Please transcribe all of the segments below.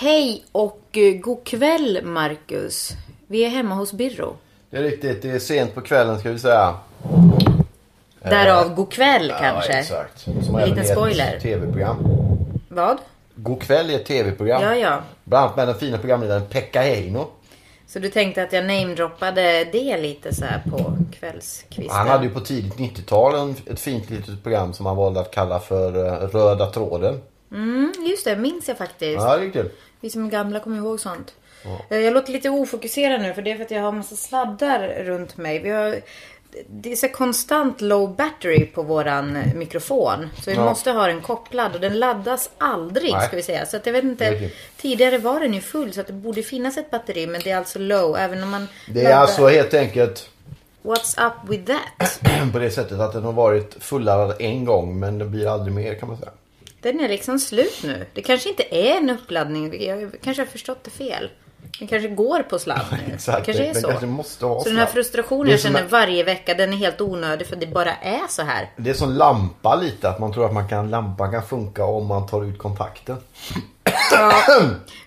Hej och eh, god kväll Marcus. Vi är hemma hos Birro. Det är riktigt, det är sent på kvällen ska vi säga. Därav god kväll kanske. Eh, Ja, exakt. En Som även liten är ett spoiler. TV-program. Vad? God kväll är ett TV-program. Ja, ja. Bland annat med den fina programledaren Pekka Heino. Så du tänkte att jag namedroppade det lite så här på kvällskvisten? Han hade ju på tidigt 90-tal en, ett fint litet program som han valde att kalla för eh, Röda tråden. mm, just det, minns jag faktiskt. Ja, det är kul. Vi som är gamla kommer ihåg sånt. Eh, Jag låter lite ofokuserad nu för det är för att jag har en massa sladdar runt mig. Vi har, det är så konstant low battery på våran mikrofon. Så vi Ja. måste ha den kopplad och den laddas aldrig Nej. ska vi säga. Så att jag vet inte. Det är kul. Tidigare var den ju full så att det borde finnas ett batteri men det är alltså low även om man Det är laddar. alltså helt enkelt What's up with that? på det sättet att den har varit fulladdad en gång men det blir aldrig mer kan man säga. Den är liksom slut nu. Det kanske inte är en uppladdning. Jag kanske har förstått det fel. Den kanske går på sladd nu. Exakt, Det kanske är den så. kanske måste ha så den här sladd. frustrationen Det är jag som känner en- varje vecka, den är helt onödig för det bara är så här. Det är som lampa lite, att man tror att man kan, lampan kan funka om man tar ut kontakten.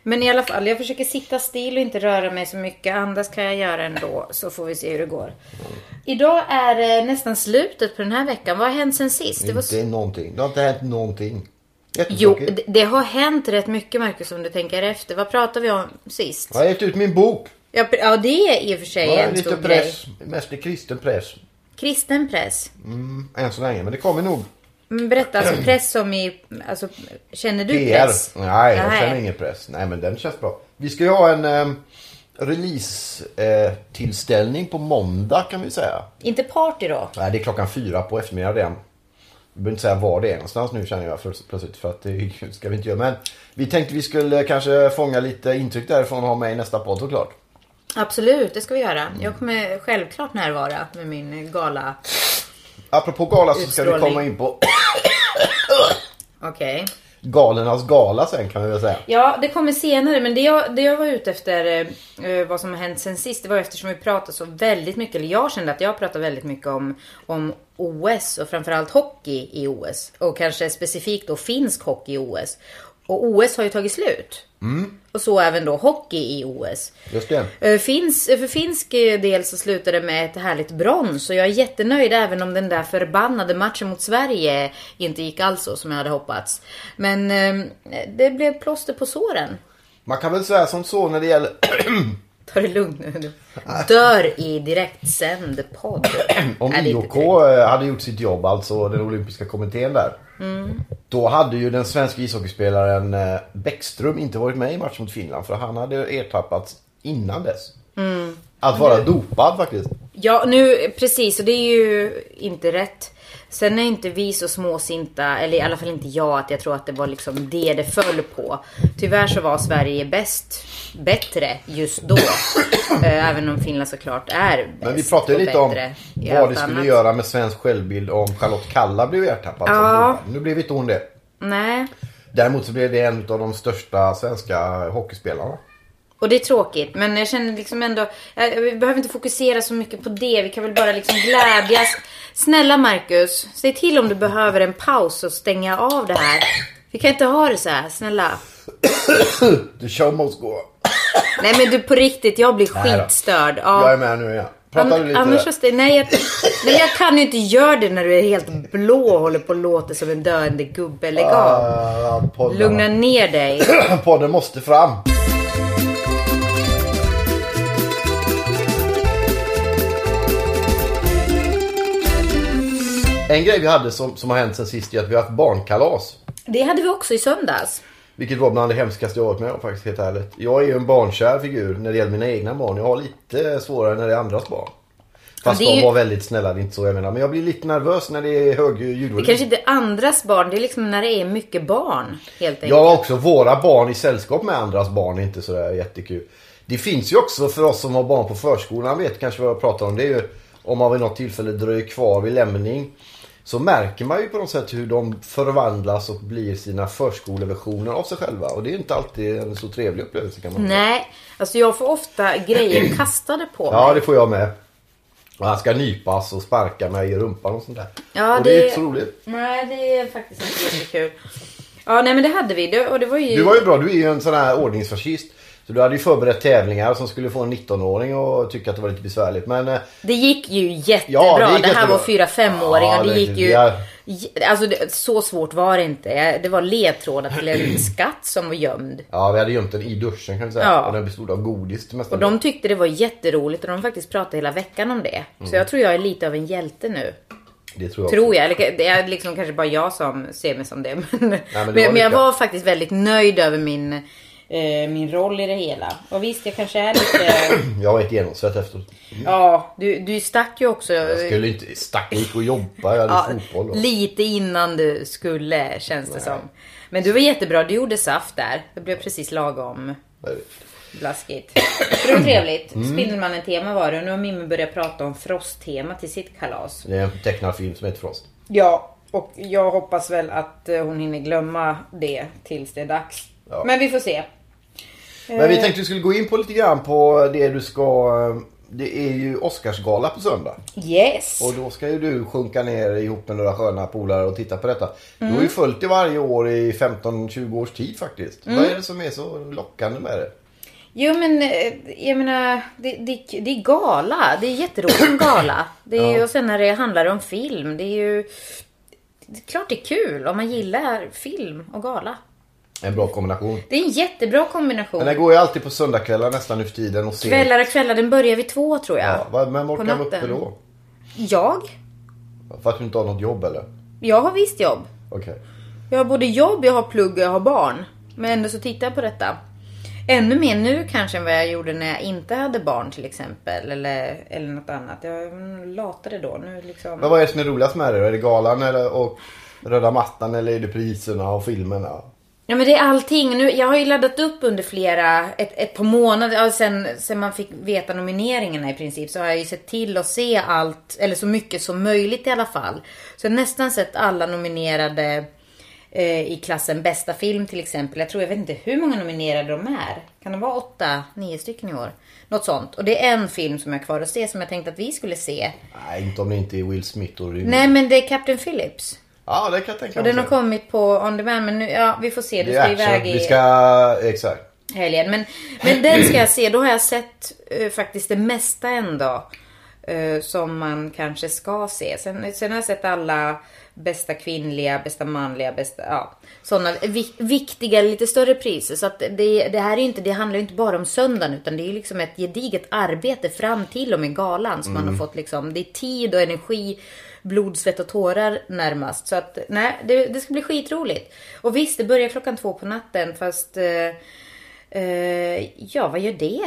Men i alla fall, jag försöker sitta still och inte röra mig så mycket. Andas kan jag göra ändå, så får vi se hur det går. Mm. Idag är det nästan slutet på den här veckan. Vad har hänt sen sist? Det var Inte någonting. Det har inte hänt någonting. Jo, Jättetråkigt. det, det har hänt rätt mycket Marcus om du tänker efter. Vad pratade vi om sist? Jag har gett ut min bok. Ja, pr- ja det är i och för sig Ja, en lite stor grej. press. Mest i kristen press. Kristen press. Mm, än så länge, men det kommer nog. Men berätta, alltså press som i... Alltså, känner du PR. press? Nej, jag Nej. känner ingen press. Nej, men den känns bra. Vi ska ju ha en eh, release-tillställning på måndag kan vi säga. Inte party då? Nej, det är klockan fyra på eftermiddagen redan. Jag behöver inte säga var det är någonstans nu känner jag för- plötsligt för att det ska vi inte göra. Men vi tänkte vi skulle kanske fånga lite intryck därifrån och ha med i nästa podd såklart. Absolut, det ska vi göra. Mm. Jag kommer självklart närvara med min gala. Apropå gala så ska vi Utstrålning. komma in på Okej. galernas gala sen kan vi väl säga. Ja, det kommer senare. Men det jag, det jag var ute efter, eh, vad som har hänt sen sist, det var eftersom vi pratade så väldigt mycket, eller jag kände att jag pratade väldigt mycket om, om OS och framförallt hockey i OS. Och kanske specifikt då finsk hockey i OS. Och OS har ju tagit slut. Mm. Och så även då hockey i OS. Just det. Eh, Finns, för finsk eh, del så slutade det med ett härligt brons och jag är jättenöjd även om den där förbannade matchen mot Sverige inte gick alls så som jag hade hoppats. Men eh, det blev plåster på såren. Man kan väl säga som så när det gäller Ta det lugnt nu. du. Dör i direktsänd podd. om Är det inte IOK trevligt? eh, hade gjort sitt jobb, alltså den olympiska kommittén där. Mm. Då hade ju den svenska ishockeyspelaren eh, Bäckström inte varit med i matchen mot Finland för han hade ertappats innan dess. Mm. Att vara dopad faktiskt. Ja, nu precis. Och det är ju inte rätt. Sen är inte vi så småsinta, eller i alla fall inte jag, att jag tror att det var liksom det det föll på. Tyvärr så var Sverige bäst, bättre just då. Eh, Även om Finland såklart är bäst Men vi pratade och lite om bättre i vad allt det skulle annat. göra med svensk självbild om Charlotte Kalla blev ertappad som Ja. dopad. Nu blev inte hon det. Nej. Däremot så blev det en av de största svenska hockeyspelarna. Och det är tråkigt, men jag känner liksom ändå, eh, vi behöver inte fokusera så mycket på det. Vi kan väl bara liksom glädjas. Snälla Marcus, säg till om du behöver en paus och stänga av det här. Vi kan inte ha det så här, snälla. The show must go. Nej men du på riktigt, jag blir Nej då. skitstörd. Jag är Ja. med nu igen. Pratar du lite? Annars så stäng- nej, jag, nej jag kan ju inte göra det när du är helt blå och håller på och låter som en döende gubbe. Lägg av. Ah, poddarna. Lugna ner dig. Podden måste fram. En grej vi hade som, som har hänt sen sist är att vi har haft barnkalas. Det hade vi också i söndags. Vilket var bland det hemskaste jag varit med om faktiskt, helt ärligt. Jag är ju en barnkär figur när det gäller mina egna barn. Jag har lite svårare när det är andras barn. Fast det är de ju- var väldigt snälla, det är inte så jag menar. Men jag blir lite nervös när det är hög Det ljudvolym. kanske inte är andras barn, det är liksom när det är mycket barn helt enkelt. Ja, också våra barn i sällskap med andras barn är inte sådär jättekul. Det finns ju också för oss som har barn på förskolan, vet kanske vad jag pratar om. Det är ju om man vid något tillfälle dröjer kvar vid lämning. Så märker man ju på något sätt hur de förvandlas och blir sina förskoleversioner av sig själva. Och det är inte alltid en så trevlig upplevelse kan man säga. Nej, alltså jag får ofta grejer kastade på mig. Ja, det får jag med. Och han ska nypas och sparka mig i rumpan och sånt där. Ja, och det, är inte så roligt. Nej, det är faktiskt inte jättekul. Ja, nej men det hade vi. Det, och det var ju... Du var ju bra, du är ju en sån här ordningsfascist. Så du hade ju förberett tävlingar som skulle få en 19-åring och tycka att det var lite besvärligt. Men eh, Det gick ju jättebra. Ja, det det, gick här jättebra. var fyra femåring Ja, och det det- gick ju... ja. j- Alltså det, så svårt var det inte. Jag- Det var ledtrådar till en skatt som var gömd. ja, vi hade gömt den i duschen kan vi säga. Ja. Och den bestod av godis till mesta Och de tyckte det var jätteroligt och de faktiskt pratade hela veckan om det. Mm. Så jag tror jag är lite av en hjälte nu. Det tror jag. Tror jag. Eller det är liksom kanske bara jag som ser mig som det. Men, det var men, men jag lyckat. var faktiskt väldigt nöjd över min, eh, min roll i det hela. Och visst, jag kanske är lite... också. Jag var ett genomsvett efteråt. ja, du, du stack ju också. eh, Jag skulle inte... Stack, jag gick och jobba. Jag Ja, hade fotboll. Och... lite innan du skulle känns det som. Men du var jättebra, du gjorde saft där. Det blev precis lagom blaskigt. Så Det var trevligt. Mm. Spindelmannen-tema var det och nu har Mimmi börjat prata om Frost-tema till sitt kalas. Det är en tecknad film som heter Frost. Ja, och jag hoppas väl att eh, hon hinner glömma det tills det är dags. Ja. Men vi får se. Eh. Men vi tänkte vi skulle gå in på lite grann på det du ska... eh, Det är ju Oscarsgala på söndag. Yes! Och då ska ju du sjunka ner ihop med några sköna polare och titta på detta. Du Mm. har ju följt det varje år i 15-20 års tid faktiskt. Mm. Vad är det som är så lockande med det? Jo men eh, jag menar, det, det, det är gala. Det är jätterolig gala. Det är, ju- Och sen när det handlar om film, det är ju... Det är klart det är kul om man gillar film och gala. En bra kombination. Det är en jättebra Men kombination. den går ju alltid på söndagskvällar nästan nu för tiden och ser... Kvällar och kvällar, den börjar vid två tror jag. Ja, vad- men På orkar man uppe natten. då? Jag? För att du inte har något jobb eller? Jag har visst jobb. Okej. Jag har både jobb, jag har plugg och jag har barn. Men ändå så tittar jag på detta. Ännu mer nu kanske än vad jag gjorde när jag inte hade barn till exempel. Eller, eller något annat. Jag mm, latade då. Nu liksom... Men vad är det som är roligast med det då? Är det galan eller, och röda mattan eller är det priserna och filmerna? Ja men det är allting. Nu, jag har ju laddat upp under flera, ett, ett par månader, ja, sen, sen man fick veta nomineringarna i princip så har jag ju sett till att se allt, eller så mycket som möjligt i alla fall. Så jag har nästan sett alla nominerade eh, i klassen bästa film till exempel. Jag tror, jag vet inte hur många nominerade de är. Kan det vara åtta, nio stycken i år? Något sånt. Och det är en film som jag har kvar att se som jag tänkte att vi skulle se. Nej, inte om det inte är Will Smith och Rymd. Nej men det är Captain Phillips. Ja, det kan jag tänka Och mig. den har kommit på on demand men nu, ja vi får se. Du Det ska är action. iväg i Vi ska... Exakt. helgen. Men, men den ska jag se. Då har jag sett eh, faktiskt det mesta ändå. Eh, som man kanske ska se. Sen, sen har jag sett alla bästa kvinnliga, bästa manliga, bästa, ja. Sådana vi, viktiga, lite större priser. Så att det, det här är ju inte, det handlar ju inte bara om söndagen utan det är ju liksom ett gediget arbete fram till och med galan. Som man har fått liksom, det är tid och energi, blod, svett och tårar närmast. Så att nej, det, det ska bli skitroligt. Och visst, det börjar klockan två på natten fast eh, Eh, ja, vad gör det?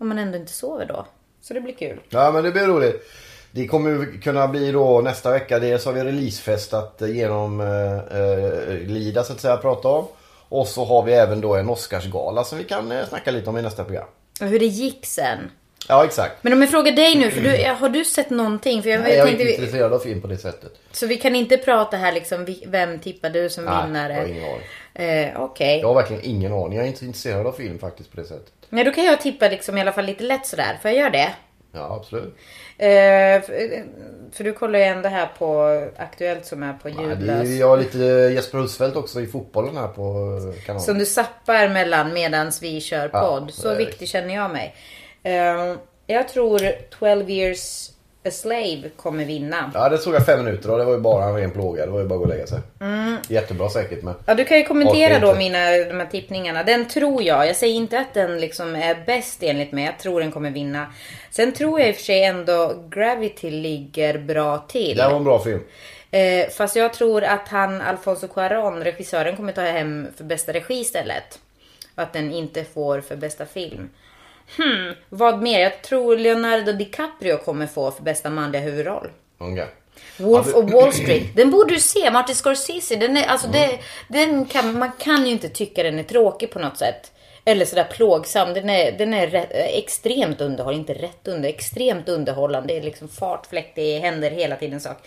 Om man ändå inte sover då. Så det blir kul. Ja men det blir roligt. Det kommer ju kunna bli då nästa vecka. Dels har vi releasefest att genomlida eh, lida, så att säga, prata om. Och så har vi även då en Oscarsgala som vi kan eh, snacka lite om i nästa program. Och hur det gick sen. Ja exakt. Men om jag frågar dig nu, för du, har du sett någonting? För jag, Mm. Nej, jag jag är tänkte, inte vi, intresserad av film på det sättet. så vi kan inte prata här liksom, vi- vem tippar du som Nej, vinnare? jag har ingen aning. Eh, Okej. Jag har verkligen ingen aning. Jag är inte så intresserad av film faktiskt på det sättet. Nej, då kan jag tippa liksom i alla fall lite lätt sådär. Får jag göra det? Ja absolut. Eh, för, för du kollar ju ändå här på Aktuellt som är på Nej, det ljudlös. är, jag har lite eh, Jesper Husfeldt också i fotbollen här på eh, kanalen. Som du zappar mellan medans vi kör Ja, podd. det så är viktig riktigt. känner jag mig. Ehm, jag tror 12 years a slave kommer vinna. Ja. Ja det såg jag fem minuter och det var ju bara en ren plåga. Det var ju bara att gå och lägga sig. Mm. Jättebra säkert men. du kan ju kommentera Orkar då inte. mina, de här tippningarna. Den tror jag. Jag säger inte att den liksom är bäst enligt mig. Jag tror den kommer vinna. Sen tror jag i och för sig ändå Gravity ligger bra till. Det här var en bra film. Eh, fast jag tror att han, Alfonso Cuarón, regissören, kommer ta hem för bästa regi istället. Och att den inte får för bästa film. Hmm, vad mer? Jag tror Leonardo DiCaprio kommer få för bästa manliga huvudroll. Okej. Wolf Ja, of Wall Street. Den borde du se. Martin Scorsese. Den är, alltså det, den kan, man kan ju inte tycka den är tråkig på något sätt. Eller sådär plågsam. Den är, den är rätt, extremt underhållande. Inte rätt under, extremt underhållande. Det är liksom fart, fläkt, det händer hela tiden saker.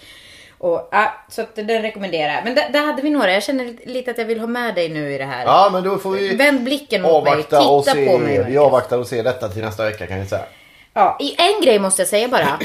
Och, ja, så att den rekommenderar jag. Men där, där hade vi några. Jag känner lite att jag vill ha med dig nu i det här. Ja, men då får vi Vänd blicken mot mig. avvakta Titta och på se. mig. Vi verkligen. avvaktar och ser detta till nästa vecka kan vi säga. Ja, i en grej måste jag säga bara.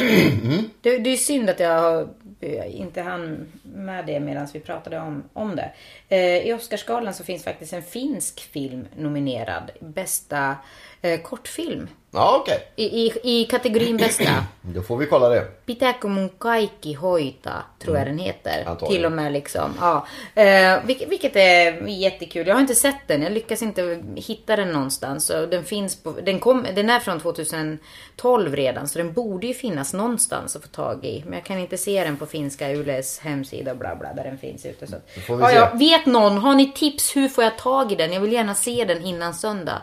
Det, det är synd att jag eh, inte hann med det medan vi pratade om, om det. Eh, I Oscarsgalan så finns faktiskt en finsk film nominerad. Bästa eh, kortfilm. Ja, okej. I, i, i kategorin bästa. Då får vi kolla det. Pitääkö mun kaikki hoita, tror jag den heter. Mm. Antagligen. Till och med liksom. Ja. Eh, vilket, vilket är jättekul. Jag har inte sett den. Jag lyckas inte hitta den någonstans. Och Den, finns på, den, kom, den är från 2012 redan, så den borde ju finnas någonstans att få tag i. Men jag kan inte se den på finska ULEs hemsida och bla bla, där den finns ute. Så. att- får vi Ja, se. ja. Vet någon, har ni tips? Hur får jag tag i den? Jag vill gärna se den innan söndag.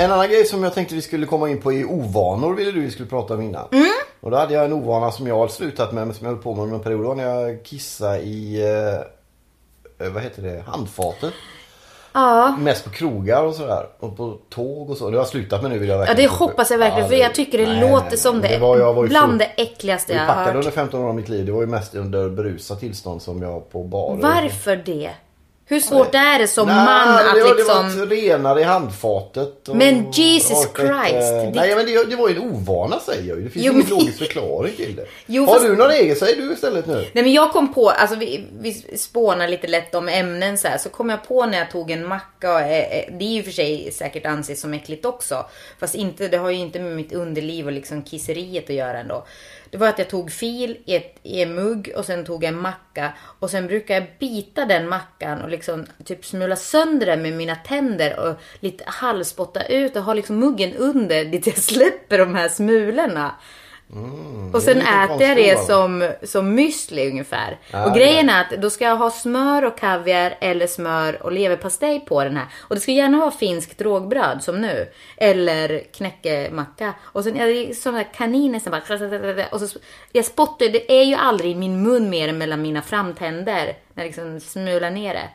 En annan grej som jag tänkte vi skulle komma in på är ovanor ville du vi skulle prata om innan. Mm. Och då hade jag en ovana som jag har slutat med men som jag höll på med under en period. Det var när jag kissade i, eh, eh, vad heter det, handfatet. Ja. Mest på krogar och sådär. Och på tåg och så. Det har jag slutat med nu vill jag Ja, verkligen. det hoppas jag verkligen, för jag tycker det låter som det. det var, jag var ju bland full. det äckligaste jag jag har packade hört. under 15 år av mitt liv. Det var ju mest under berusat tillstånd som jag på bar. Varför det? Hur svårt är det som Nej, man att det, var- liksom... Det var renare i handfatet. Och Men Jesus och ett, eh, Christ, Nej ditt- men det, det var ju en ovana säger jag ju. Det finns Jo, ingen men- logisk förklaring till det. Jo, Har fast- du någon egen? Säg du istället nu. Nej men jag kom på, alltså vi, vi spånar lite lätt om ämnen så här, så kom jag på när jag tog en macka, och, eh, eh, det är ju för sig säkert anses som äckligt också, fast inte, det har ju inte med mitt underliv och liksom kisseriet att göra ändå. Det var att jag tog fil i, ett, i en mugg och sen tog jag en macka och sen brukar jag bita den mackan och liksom typ smula sönder den med mina tänder och lite halvspotta ut och ha liksom muggen under dit jag släpper de här smulorna. Och sen Mm, Det är lite äter jag det konstigt, va? som, som müsli ungefär. Ah, och grejen är att då ska jag ha smör och kaviar eller smör och leverpastej på den här. Och det ska gärna vara finskt rågbröd som nu. Eller knäckemacka. Och sen är det sådana där kaniner som bara... Och så, jag spottar det är ju aldrig i min mun mer än mellan mina framtänder. När jag liksom smular ner det.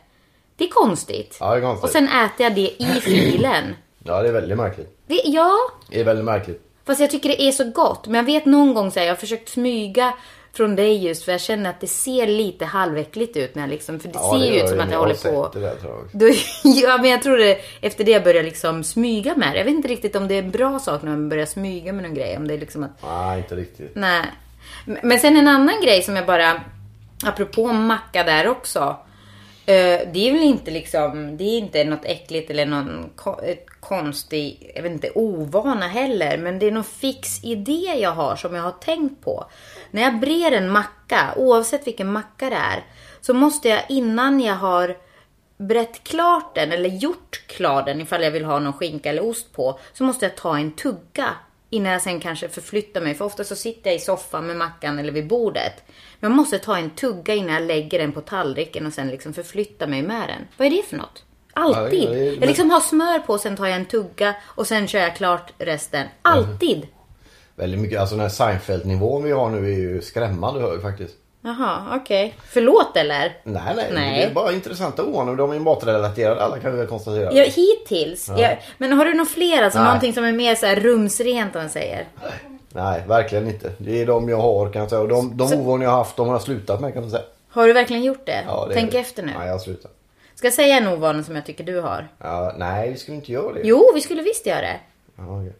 Det är konstigt. Ja, det är konstigt. Och sen äter jag det i filen. Ja det är väldigt märkligt. Det, ja, Det är väldigt märkligt. Fast jag tycker det är så gott. Men jag vet någon gång så här, jag har försökt smyga från dig just för jag känner att det ser lite halväckligt ut när jag liksom, för det Ja, ser ju gör ut som det. att jag har håller sett på. Det där, tror jag. Då, ja, men jag tror det, efter det börjar jag liksom smyga med det. Jag vet inte riktigt om det är en bra sak när man börjar smyga med någon grej. Om det är liksom att Nej inte riktigt. Nej. M- Men sen en annan grej som jag bara, apropå macka där också. Eh, det är väl inte liksom, det är inte något äckligt eller någon ko- ett konstig, jag vet inte, ovana heller. Men det är någon fix idé jag har som jag har tänkt på. När jag brer en macka, oavsett vilken macka det är, så måste jag innan jag har brett klart den eller gjort klar den ifall jag vill ha någon skinka eller ost på så måste jag ta en tugga innan jag sen kanske förflyttar mig. För ofta så sitter jag i soffan med mackan eller vid bordet. Men jag måste ta en tugga innan jag lägger den på tallriken och sen liksom förflytta mig med den. Vad är det för något? Alltid. Ja, det är- Jag liksom har smör på, sen tar jag en tugga och sen kör jag klart resten. Alltid. Väldigt mycket. Alltså den här Seinfeld nivån vi har nu är ju skrämmande hög faktiskt. Jaha, okej. Förlåt eller? Nej, nej Nej. Det är bara intressanta ovanor. De är ju matrelaterade alla kan vi väl konstatera. Ja, hittills. Jag, men har du några fler? Alltså Nej. någonting som är mer så här rumsrent om man säger? Nej verkligen inte. Det är de jag har kan jag säga. Och de, de ovanor jag har haft de har jag slutat med kan man säga. Har du verkligen gjort det? Ja, det är Tänk det. efter nu. Nej, jag slutar. Ska jag säga en ovana som jag tycker du har? Ja, nej, vi skulle inte göra det. Jo, vi skulle visst göra det. Ja, okej.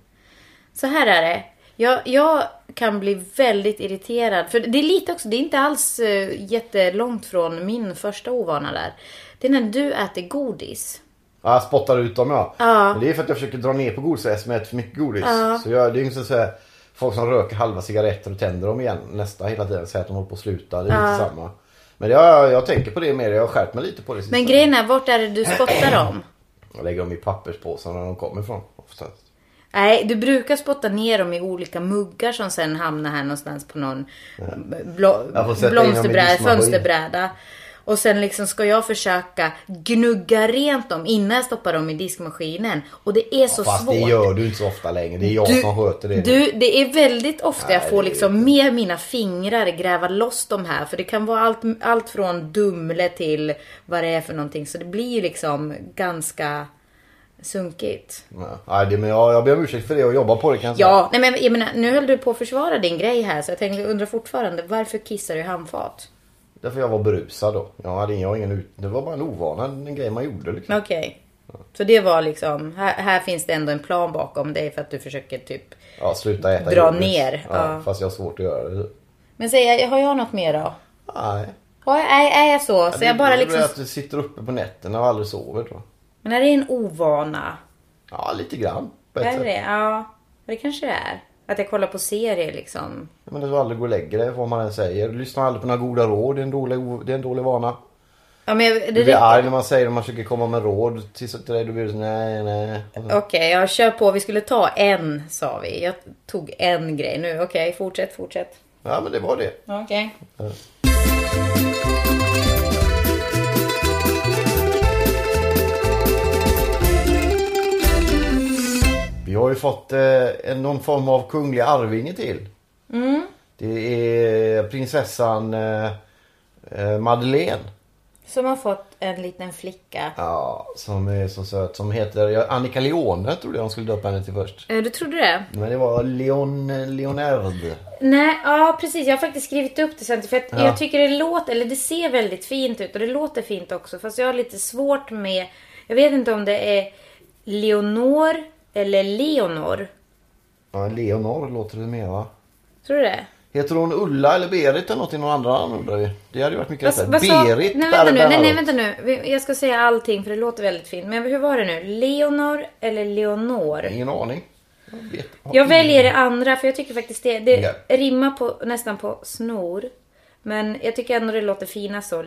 Så här är det. Jag, jag kan bli väldigt irriterad. För det är lite också, det är inte alls uh, jättelångt från min första ovana där. Det är när du äter godis. Ja, jag spottar ut dem ja. Ja. Men det är för att jag försöker dra ner på godis eftersom jag äter för mycket godis. Så jag, det är ju inte så här, folk som röker halva cigaretter och tänder dem igen nästa hela tiden. Säger att de håller på att sluta. Det är lite samma. Men det har jag, jag tänker på det mer. Jag har skärpt mig lite på det sista. Men grejen är, vart är det du spottar dem? Jag lägger dem i papperspåsarna där de kommer ifrån oftast. Nej, du brukar spotta ner dem i olika muggar som sen hamnar här någonstans på någon blå, Jag får sätta in dem i blomsterbräda, diskmaskin. fönsterbräda. Och sen liksom ska jag försöka gnugga rent dem innan jag stoppar dem i diskmaskinen. Och det är så Fast svårt. det gör du inte så ofta längre. Det är jag som sköter det. Du, det är väldigt ofta jag Nej, får det är liksom med mina fingrar gräva loss de här. För det kan vara allt, allt från Dumle till vad det är för någonting. Så det blir ju liksom ganska sunkigt. Nej, Nej, det, men jag, jag ber om ursäkt för det och jobbar på det kan jag säga. Ja, nej men jag menar, nu höll du på att försvara din grej här. Så jag tänkte, undrar fortfarande, varför kissar du i handfat? Därför jag var berusad då. Jag hade jag har ingen ut... Det var bara en ovana, en grej man gjorde liksom. Okej. Så det var liksom, här, här finns det ändå en plan bakom dig för att du försöker typ. Ja, sluta äta Dra jordgubbs. ner, Ja, ja. Fast jag har svårt att göra det. Men säg, har jag något mer då? Nej. Har jag- Är, är jag så? Så jag bara Det är väl liksom... att du sitter uppe på nätterna och aldrig sover då. Men är det en ovana? Ja, lite grann. På ett Är sätt. det? Ja, det kanske det är. Att jag kollar på serier liksom. Men du aldrig går och lägger dig vad man än säger. Du lyssnar aldrig på några goda råd. Det är en dålig, o- det är en dålig vana. Ja, men jag, Du det, blir det, arg när man säger att man försöker komma med råd till, till dig. Då blir du så nej, nej. Okej, jag kör på. Vi skulle ta en, sa vi. Jag tog en grej nu. Okej, fortsätt, fortsätt. Ja, men det var det. Okej. Vi har ju fått eh, en- någon form av kunglig arvinge till. Mm. Det är prinsessan eh, eh, Madeleine. Som har fått en liten flicka. Ja, som är så söt. Som heter ja, Annika Leone trodde jag de skulle döpa henne till först. Eh, Du trodde det? Men det var Leon, eh, Leonard. Nej, ja precis. Jag har faktiskt skrivit upp det sen. För att Ja. jag tycker det låter, eller det ser väldigt fint ut och det låter fint också. Fast jag har lite svårt med, jag vet inte om det är Leonor eller Leonor. Ja, Leonor låter det mer va? Tror du det? Heter hon Ulla eller Berit eller något i någon andra namn undrar vi. Det hade ju varit mycket lättare. sa- Berit nej, vänta där- nu, där- nej, nej vänta nu. Vi- Jag ska säga allting för det låter väldigt fint. Men hur var det nu? Leonor eller Leonor? Ingen aning. Jag vet. Jag väljer det andra för jag tycker faktiskt det, det Ja. rimmar på, nästan på snor. Men jag tycker ändå det låter finast så.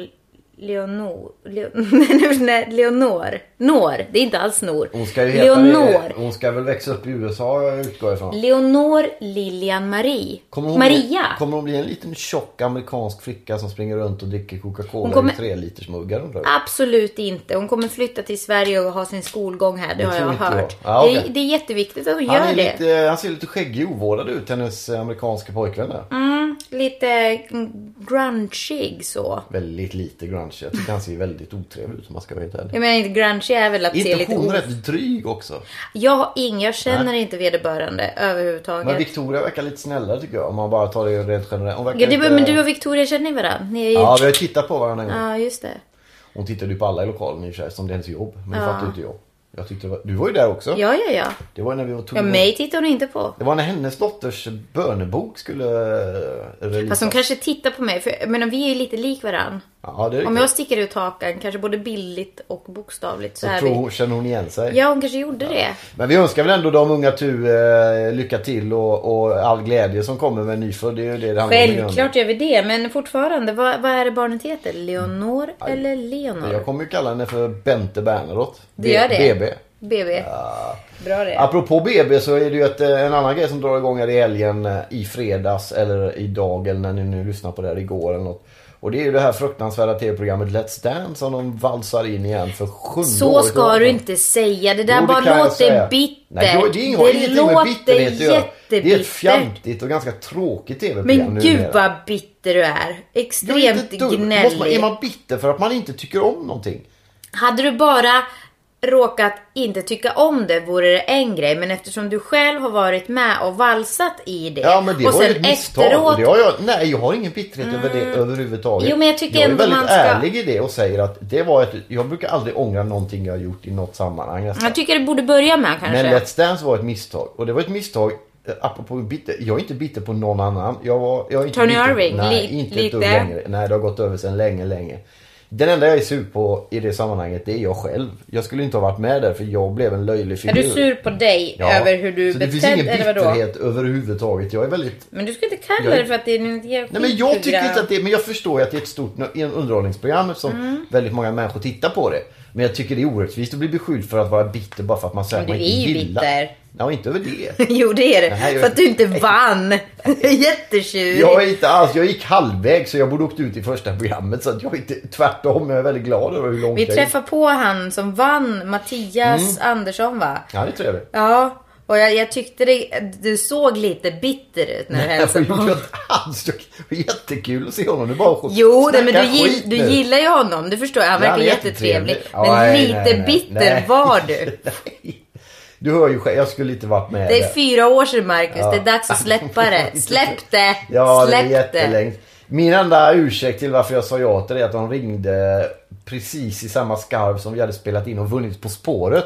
Leonor. Leo, nej, nej, Leonor. Nor. Det är inte alls snor. Hon ska ju heta Leonor. Hon ska väl växa upp i USA jag utgår ifrån. Leonor Lilian Marie. Kommer hon Maria. Bli, kommer hon bli en liten tjock amerikansk flicka som springer runt och dricker Coca-Cola Hon kommer- i tre liters muggar undrar vi. Absolut inte. Hon kommer flytta till Sverige och ha sin skolgång här. Det, Det har tror jag inte hört. jag. Ja, okej. det, är, det är jätteviktigt att hon Han, gör är det. lite, han ser lite skäggig och ovårdad ut, hennes amerikanska pojkvän där. Mm, lite mm, grungig så. Väldigt lite grunge. Jag tycker han ser väldigt otrevlig ut om man ska vara helt ärlig. Jag menar inte grungig är väl att Är se inte lite hon o- rätt dryg också? Jag har ing, jag känner inte vederbörande Men överhuvudtaget. Victoria verkar lite snällare tycker jag om man bara tar det rent generellt. Hon verkar Ja, det, lite... men du och Victoria känner ni varandra? Ni är ju... Ja, Ja, vi har tittat på varandra en gång. just det. Hon tittade ju på alla i lokalen i och för sig, som det är hennes jobb. Men det fattade ju inte jag. jag tyckte det var... Du var ju där också. Ja, ja, ja. Det var ju när vi var tog Ja, mig tittar hon inte på. Det var när hennes dotters bönebok skulle eh, Fast releasas. hon kanske tittar på mig, för jag menar, vi är ju lite lik varandra. Ja, det är Om riktigt. jag sticker ut hakan, kanske både bildligt och bokstavligt, så Jag är tror vi... hon känner hon igen sig. Ja, hon kanske gjorde det. Men vi önskar väl ändå de unga Tu eh, lycka till och, och all glädje som kommer med en nyfödd. Det är ju det det handlar om i grunden. Självklart gör vi det, men fortfarande, vad, vad är det barnet heter? Leonor eller Leonor? Jag kommer ju kalla henne för Bente Bernadotte. Du gör det? BB. BB. Bra det. Apropå BB så är det ju ett, eh, en annan grej som drar igång här i helgen eh, i fredags eller idag eller när ni nu lyssnar på det här igår eller något. Och det är ju det här fruktansvärda tv-programmet Let's Dance som de valsar in igen för sjunde Så året i ska raden. du inte säga. Det där Jo, det bara kan jag säga. låter bitter. Nej, det, det har ingenting med bitterhet att göra. Det är ett jättebittert. fjantigt och ganska tråkigt tv-program Men gud vad bitter du är. Jag är inte Extremt ett dugg- Måste man, är gnällig. man bitter för att man inte tycker om någonting? Hade du bara råkat inte tycka om det vore det en grej. Men eftersom du själv har varit med och valsat i det. Ja men det och var ju sen ett misstag. efteråt- Mm. Och det har jag, nej jag har ingen bitterhet över det överhuvudtaget. Jo, men jag tycker jag är ändå väldigt man ska- ärlig i det och säger att det var ett, jag brukar aldrig ångra någonting jag har gjort i något sammanhang. nästan. Jag tycker det borde börja med kanske. Men Let's Dance var ett misstag. Och det var ett misstag eh, Apropå bitter, jag är inte bitter på någon annan. Jag var, jag är inte Tony bitter, Irving, nej, li- inte ett dugg lite. längre. Nej, det har gått över sedan länge, länge. Den enda jag är sur på i det sammanhanget, det är jag själv. Jag skulle inte ha varit med där för jag blev en löjlig Är figur. du sur på dig Ja. över hur du Så det finns ingen betett eller vadå? bitterhet överhuvudtaget. Jag är väldigt... Men du ska inte kalla Jag- det för att det är något jävla Nej men jag tycker skitprogram. Mm. inte att det, men jag förstår ju att det är ett stort no- underhållningsprogram som väldigt många människor tittar på det. Men jag tycker det är orättvist att bli beskylld för att vara bitter bara för att man säger att Men man du inte är ju gillar. bitter. Nej, inte över det. Jo det är det. Det här gör för att du jag- inte vann. Jättetjurig. Jag är inte alls, jag gick halvväg så jag borde åkt ut i första programmet så att jag är inte, tvärtom, jag är väldigt glad över hur långt Vi jag träffar på han som vann, Mattias Mm. Andersson va? gick. Ja, det tror jag det. Ja. Och jag, jag tyckte det, du såg lite bitter ut när du hälsade Jag på gjorde honom. inte alls, det var jättekul att se honom. Du bara Jo, nej, snackar men du, gill, skit du nu. gillar ju honom, du förstår. Han Ja, verkar han är jättetrevlig. jättetrevlig. Men Ja, nej, lite nej, nej, bitter nej. var du. Nej. Du hör ju själv, jag skulle inte varit med. Det där. är fyra år sedan Marcus, det är dags att släppa det. Släpp det! Ja, Släpp det är jättelänge. Min enda ursäkt till varför jag sa ja till det är att de ringde precis i samma skarv som vi hade spelat in och vunnit På spåret.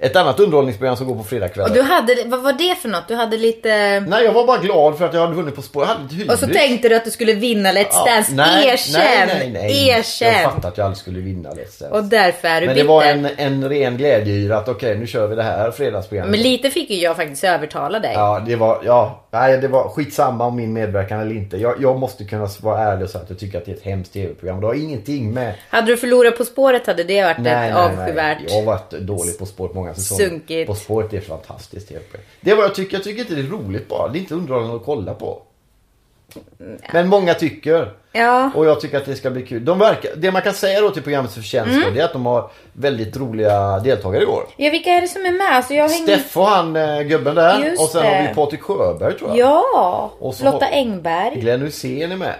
Ett annat underhållningsprogram som går på Och fredagskvällar. du hade, vad var det för något? Du hade lite... Nej, jag var bara glad för att jag hade vunnit På spåret. Jag hade lite Och så hybris. tänkte du att du skulle vinna Let's Ja, Dance. nej, Erkänn! nej, nej, nej. Jag Erkänn! fattade att jag aldrig skulle vinna Let's Dance. Och därför är du Men det bitter. var en, en ren glädjeyra att okej, nu kör vi det här fredagsprogrammet. Men lite fick ju jag faktiskt övertala dig. eh, Ja, det var, ja, nej, det var skitsamma om min medverkan eller inte. Jag, jag måste kunna vara ärlig och säga att jag tycker att det är ett hemskt tv-program. Det har ingenting med... Hade du förlorat På spåret hade det varit ett avskyvärt... Jag har varit dålig På spåret många säsonger. Sunkigt. På spåret är ett fantastiskt tv-program. Det är vad jag tycker. Jag tycker inte det är roligt bara. Det är inte underhållande att kolla på. Mm, Men många tycker. Ja. Och jag tycker att det ska bli kul. De verkar, det man kan säga då till programmets förtjänster Mm. det är att de har väldigt roliga deltagare i år. ja, vilka är det som är med? Alltså jag har ingen- Steff och han eh, gubben där. Just och sen har det. vi Patrik Sjöberg tror jag. Ja! Och så- Lotta Engberg. Glenn Hysén är med.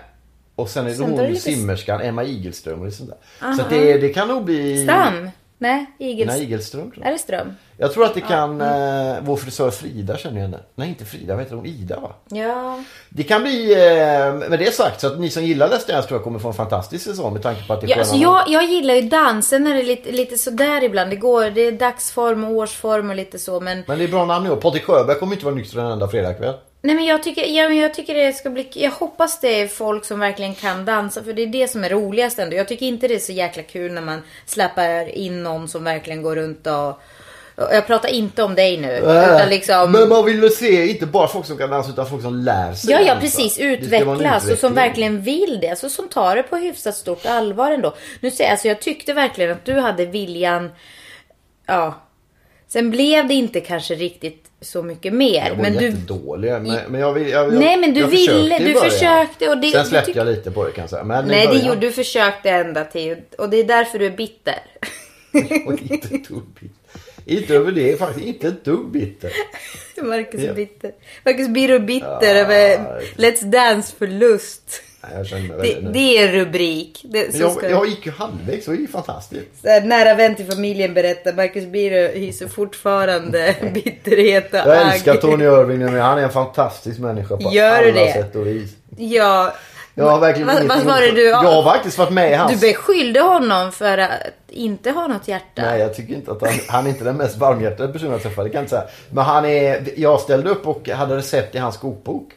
Och sen är det Sen tar det hon lite- simmerskan Emma Igelström och det sånt där. Så att det, det kan nog bli... Stam? Nej, Igels... Emma Igelström tror jag. Är det Ström? Jag tror att det kan... Mm. Eh, vår frisör Frida känner jag henne. Nej inte Frida, vad heter hon? Ida va? Ja. Det kan bli... Eh, med det sagt så att ni som gillar Let's Dance tror jag kommer få en fantastisk säsong med tanke på att det är Ja, sköna alltså män. jag, jag gillar ju dansen när det är lite, lite sådär ibland. Det går, det är dagsform och årsform och lite så men... Men det är bra namn i år. Patrik Sjöberg kommer inte vara nykter en enda fredagkväll. Nej men jag tycker, ja, men jag tycker det ska bli, jag hoppas det är folk som verkligen kan dansa för det är det som är roligast ändå. Jag tycker inte det är så jäkla kul när man släpper in någon som verkligen går runt och, och jag pratar inte om dig nu. utan liksom... Äh. Men man vill väl se inte bara folk som kan dansa utan folk som lär sig Ja, ja dansa. precis. Det ska vara en Utvecklas och som utveckling. verkligen vill det. Alltså, som tar det på hyfsat stort allvar ändå. Nu säger jag, alltså, jag tyckte verkligen att du hade viljan. Ja. Sen blev det inte kanske riktigt så mycket mer. Jag var Men du, jättedålig. Men, men jag, vill- jag, jag, Nej, men du jag försökte ville, i du början. försökte och det- Sen du släppte tyck- jag lite på det kan jag säga. Men i nej, det början gjorde du försökte ända till. Och det är därför du är bitter. var jag inte ett dugg bitter. Inte över det faktiskt. Inte ett dugg bitter. Marcus är Ja. Ah, bitter. Marcus blir du bitter Ja. över Let's Dance förlust. Nej, jag känner mig Det, väldigt nöjd. det är en rubrik. Det, så Men jag, ska det jag gick ju halvvägs. Det var ju fantastiskt. Så här, nära vän till familjen berättar Marcus Birro hyser fortfarande bitterhet och Jag älskar Tony Irving nu. men Han är en fantastisk människa på Gör alla du det? sätt och vis. Ja. Jag har verkligen Vad- inget vad emot var det du- Jag har faktiskt varit med i hans... Du beskyllde honom för att inte ha något hjärta. Nej, jag tycker inte att han, han är inte den mest varmhjärtade personen jag träffat. Det kan jag inte säga. Men han är... Jag ställde upp och hade recept i hans kokbok.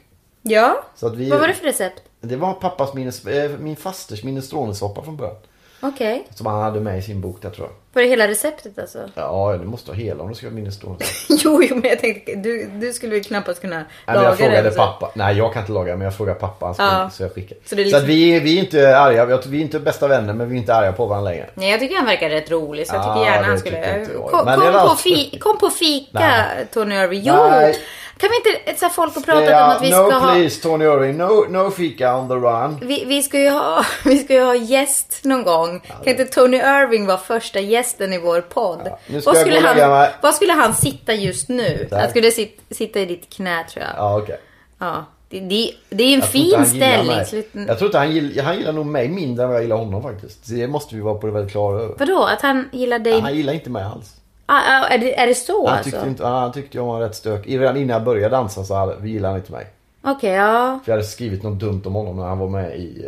Ja. Så att vi... Vad var det för recept? Det var pappas minnes, eh, min fasters minestrone-soppa från början. Okej. Som han hade med i sin bok där tror jag. Var det hela receptet alltså? Ja, det måste vara hela om du ska ha minestrone. jo, jo, men jag tänkte du, du skulle väl knappast kunna Nej, men jag frågade så. pappa. Nej, jag kan inte laga men jag frågade pappa. Han skulle, Ja. Så jag skickade. Så Så, det är liksom- att vi, vi är inte arga. Jag tror- Vi är inte bästa vänner men vi är inte arga på varandra längre. Nej, jag tycker han verkar rätt rolig så jag Ah, tycker gärna det han tycker skulle... inte jag. Kom, Men kom, det är på alltså- fi, kom på fika Nej. Tony Irving. Jo! Nej. Kan vi inte... Så här, folk har pratat om Ja, att vi no ska ha... please Tony Irving. No, no fika on the run. Vi, vi, ska ju ha, vi ska ju ha gäst någon gång. Kan inte Tony Irving vara första gästen i vår podd? nu ska Var jag skulle, gå och lägga han, mig. var skulle han sitta just nu? Där. Han skulle sit, sitta i ditt knä tror jag. Ja. Ja, okej. Det, det, det är en Jag tror inte fin han gillar ställning. mig. Slut- Jag tror inte han gillar, han gillar nog mig mindre än vad jag gillar honom faktiskt. Det måste vi vara på det väldigt klara över. Vadå? Att han gillar dig? Han gillar inte mig alls. Ah, ah, är, det, är det så Han tyckte, alltså? inte, han tyckte jag var rätt stök. Redan innan jag började dansa så hade, gillade han inte mig. Okej, ja. För jag hade skrivit något dumt om honom när han var med i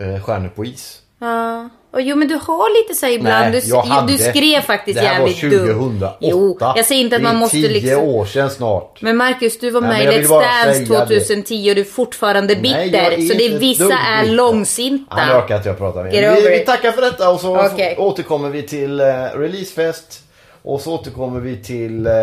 eh, eh, Stjärnor på is. Ja. Och jo men du har lite så här ibland. Nej, du, jag hade- du skrev faktiskt Det här jävligt var dumt. 2008. Jo, jag säger inte att Det är man måste tio liksom... år sedan snart. Men Marcus, du var Nej, med men jag i vill Let's bara Dance säga det. 2010 och du är fortfarande bitter. Nej, jag är så det inte är ett vissa dugg är bitter. långsinta. Han orkar att jag pratar mer. Get over Vi, it. vi tackar för detta och så Okej. f- återkommer vi till eh, releasefest. Och så återkommer vi till eh,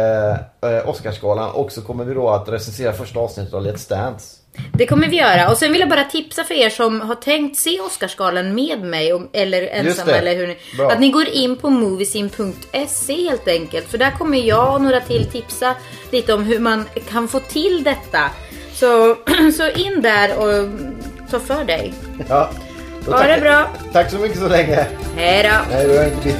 eh, Oscarsgalan och så kommer vi då att recensera första avsnittet av Let's Dance. Det kommer vi göra. Och sen vill jag bara tipsa för er som har tänkt se Oscarsgalan med mig om- eller Just ensamma det. eller hur ni... Bra. Att ni går in på moviesin.se helt enkelt. För där kommer jag och några till tipsa lite om hur man kan få till detta. Så, så in där och ta för dig. Ja. Då Ha det tackar- bra. Tack så mycket så länge. Hej då! Nej, du har inte bitit.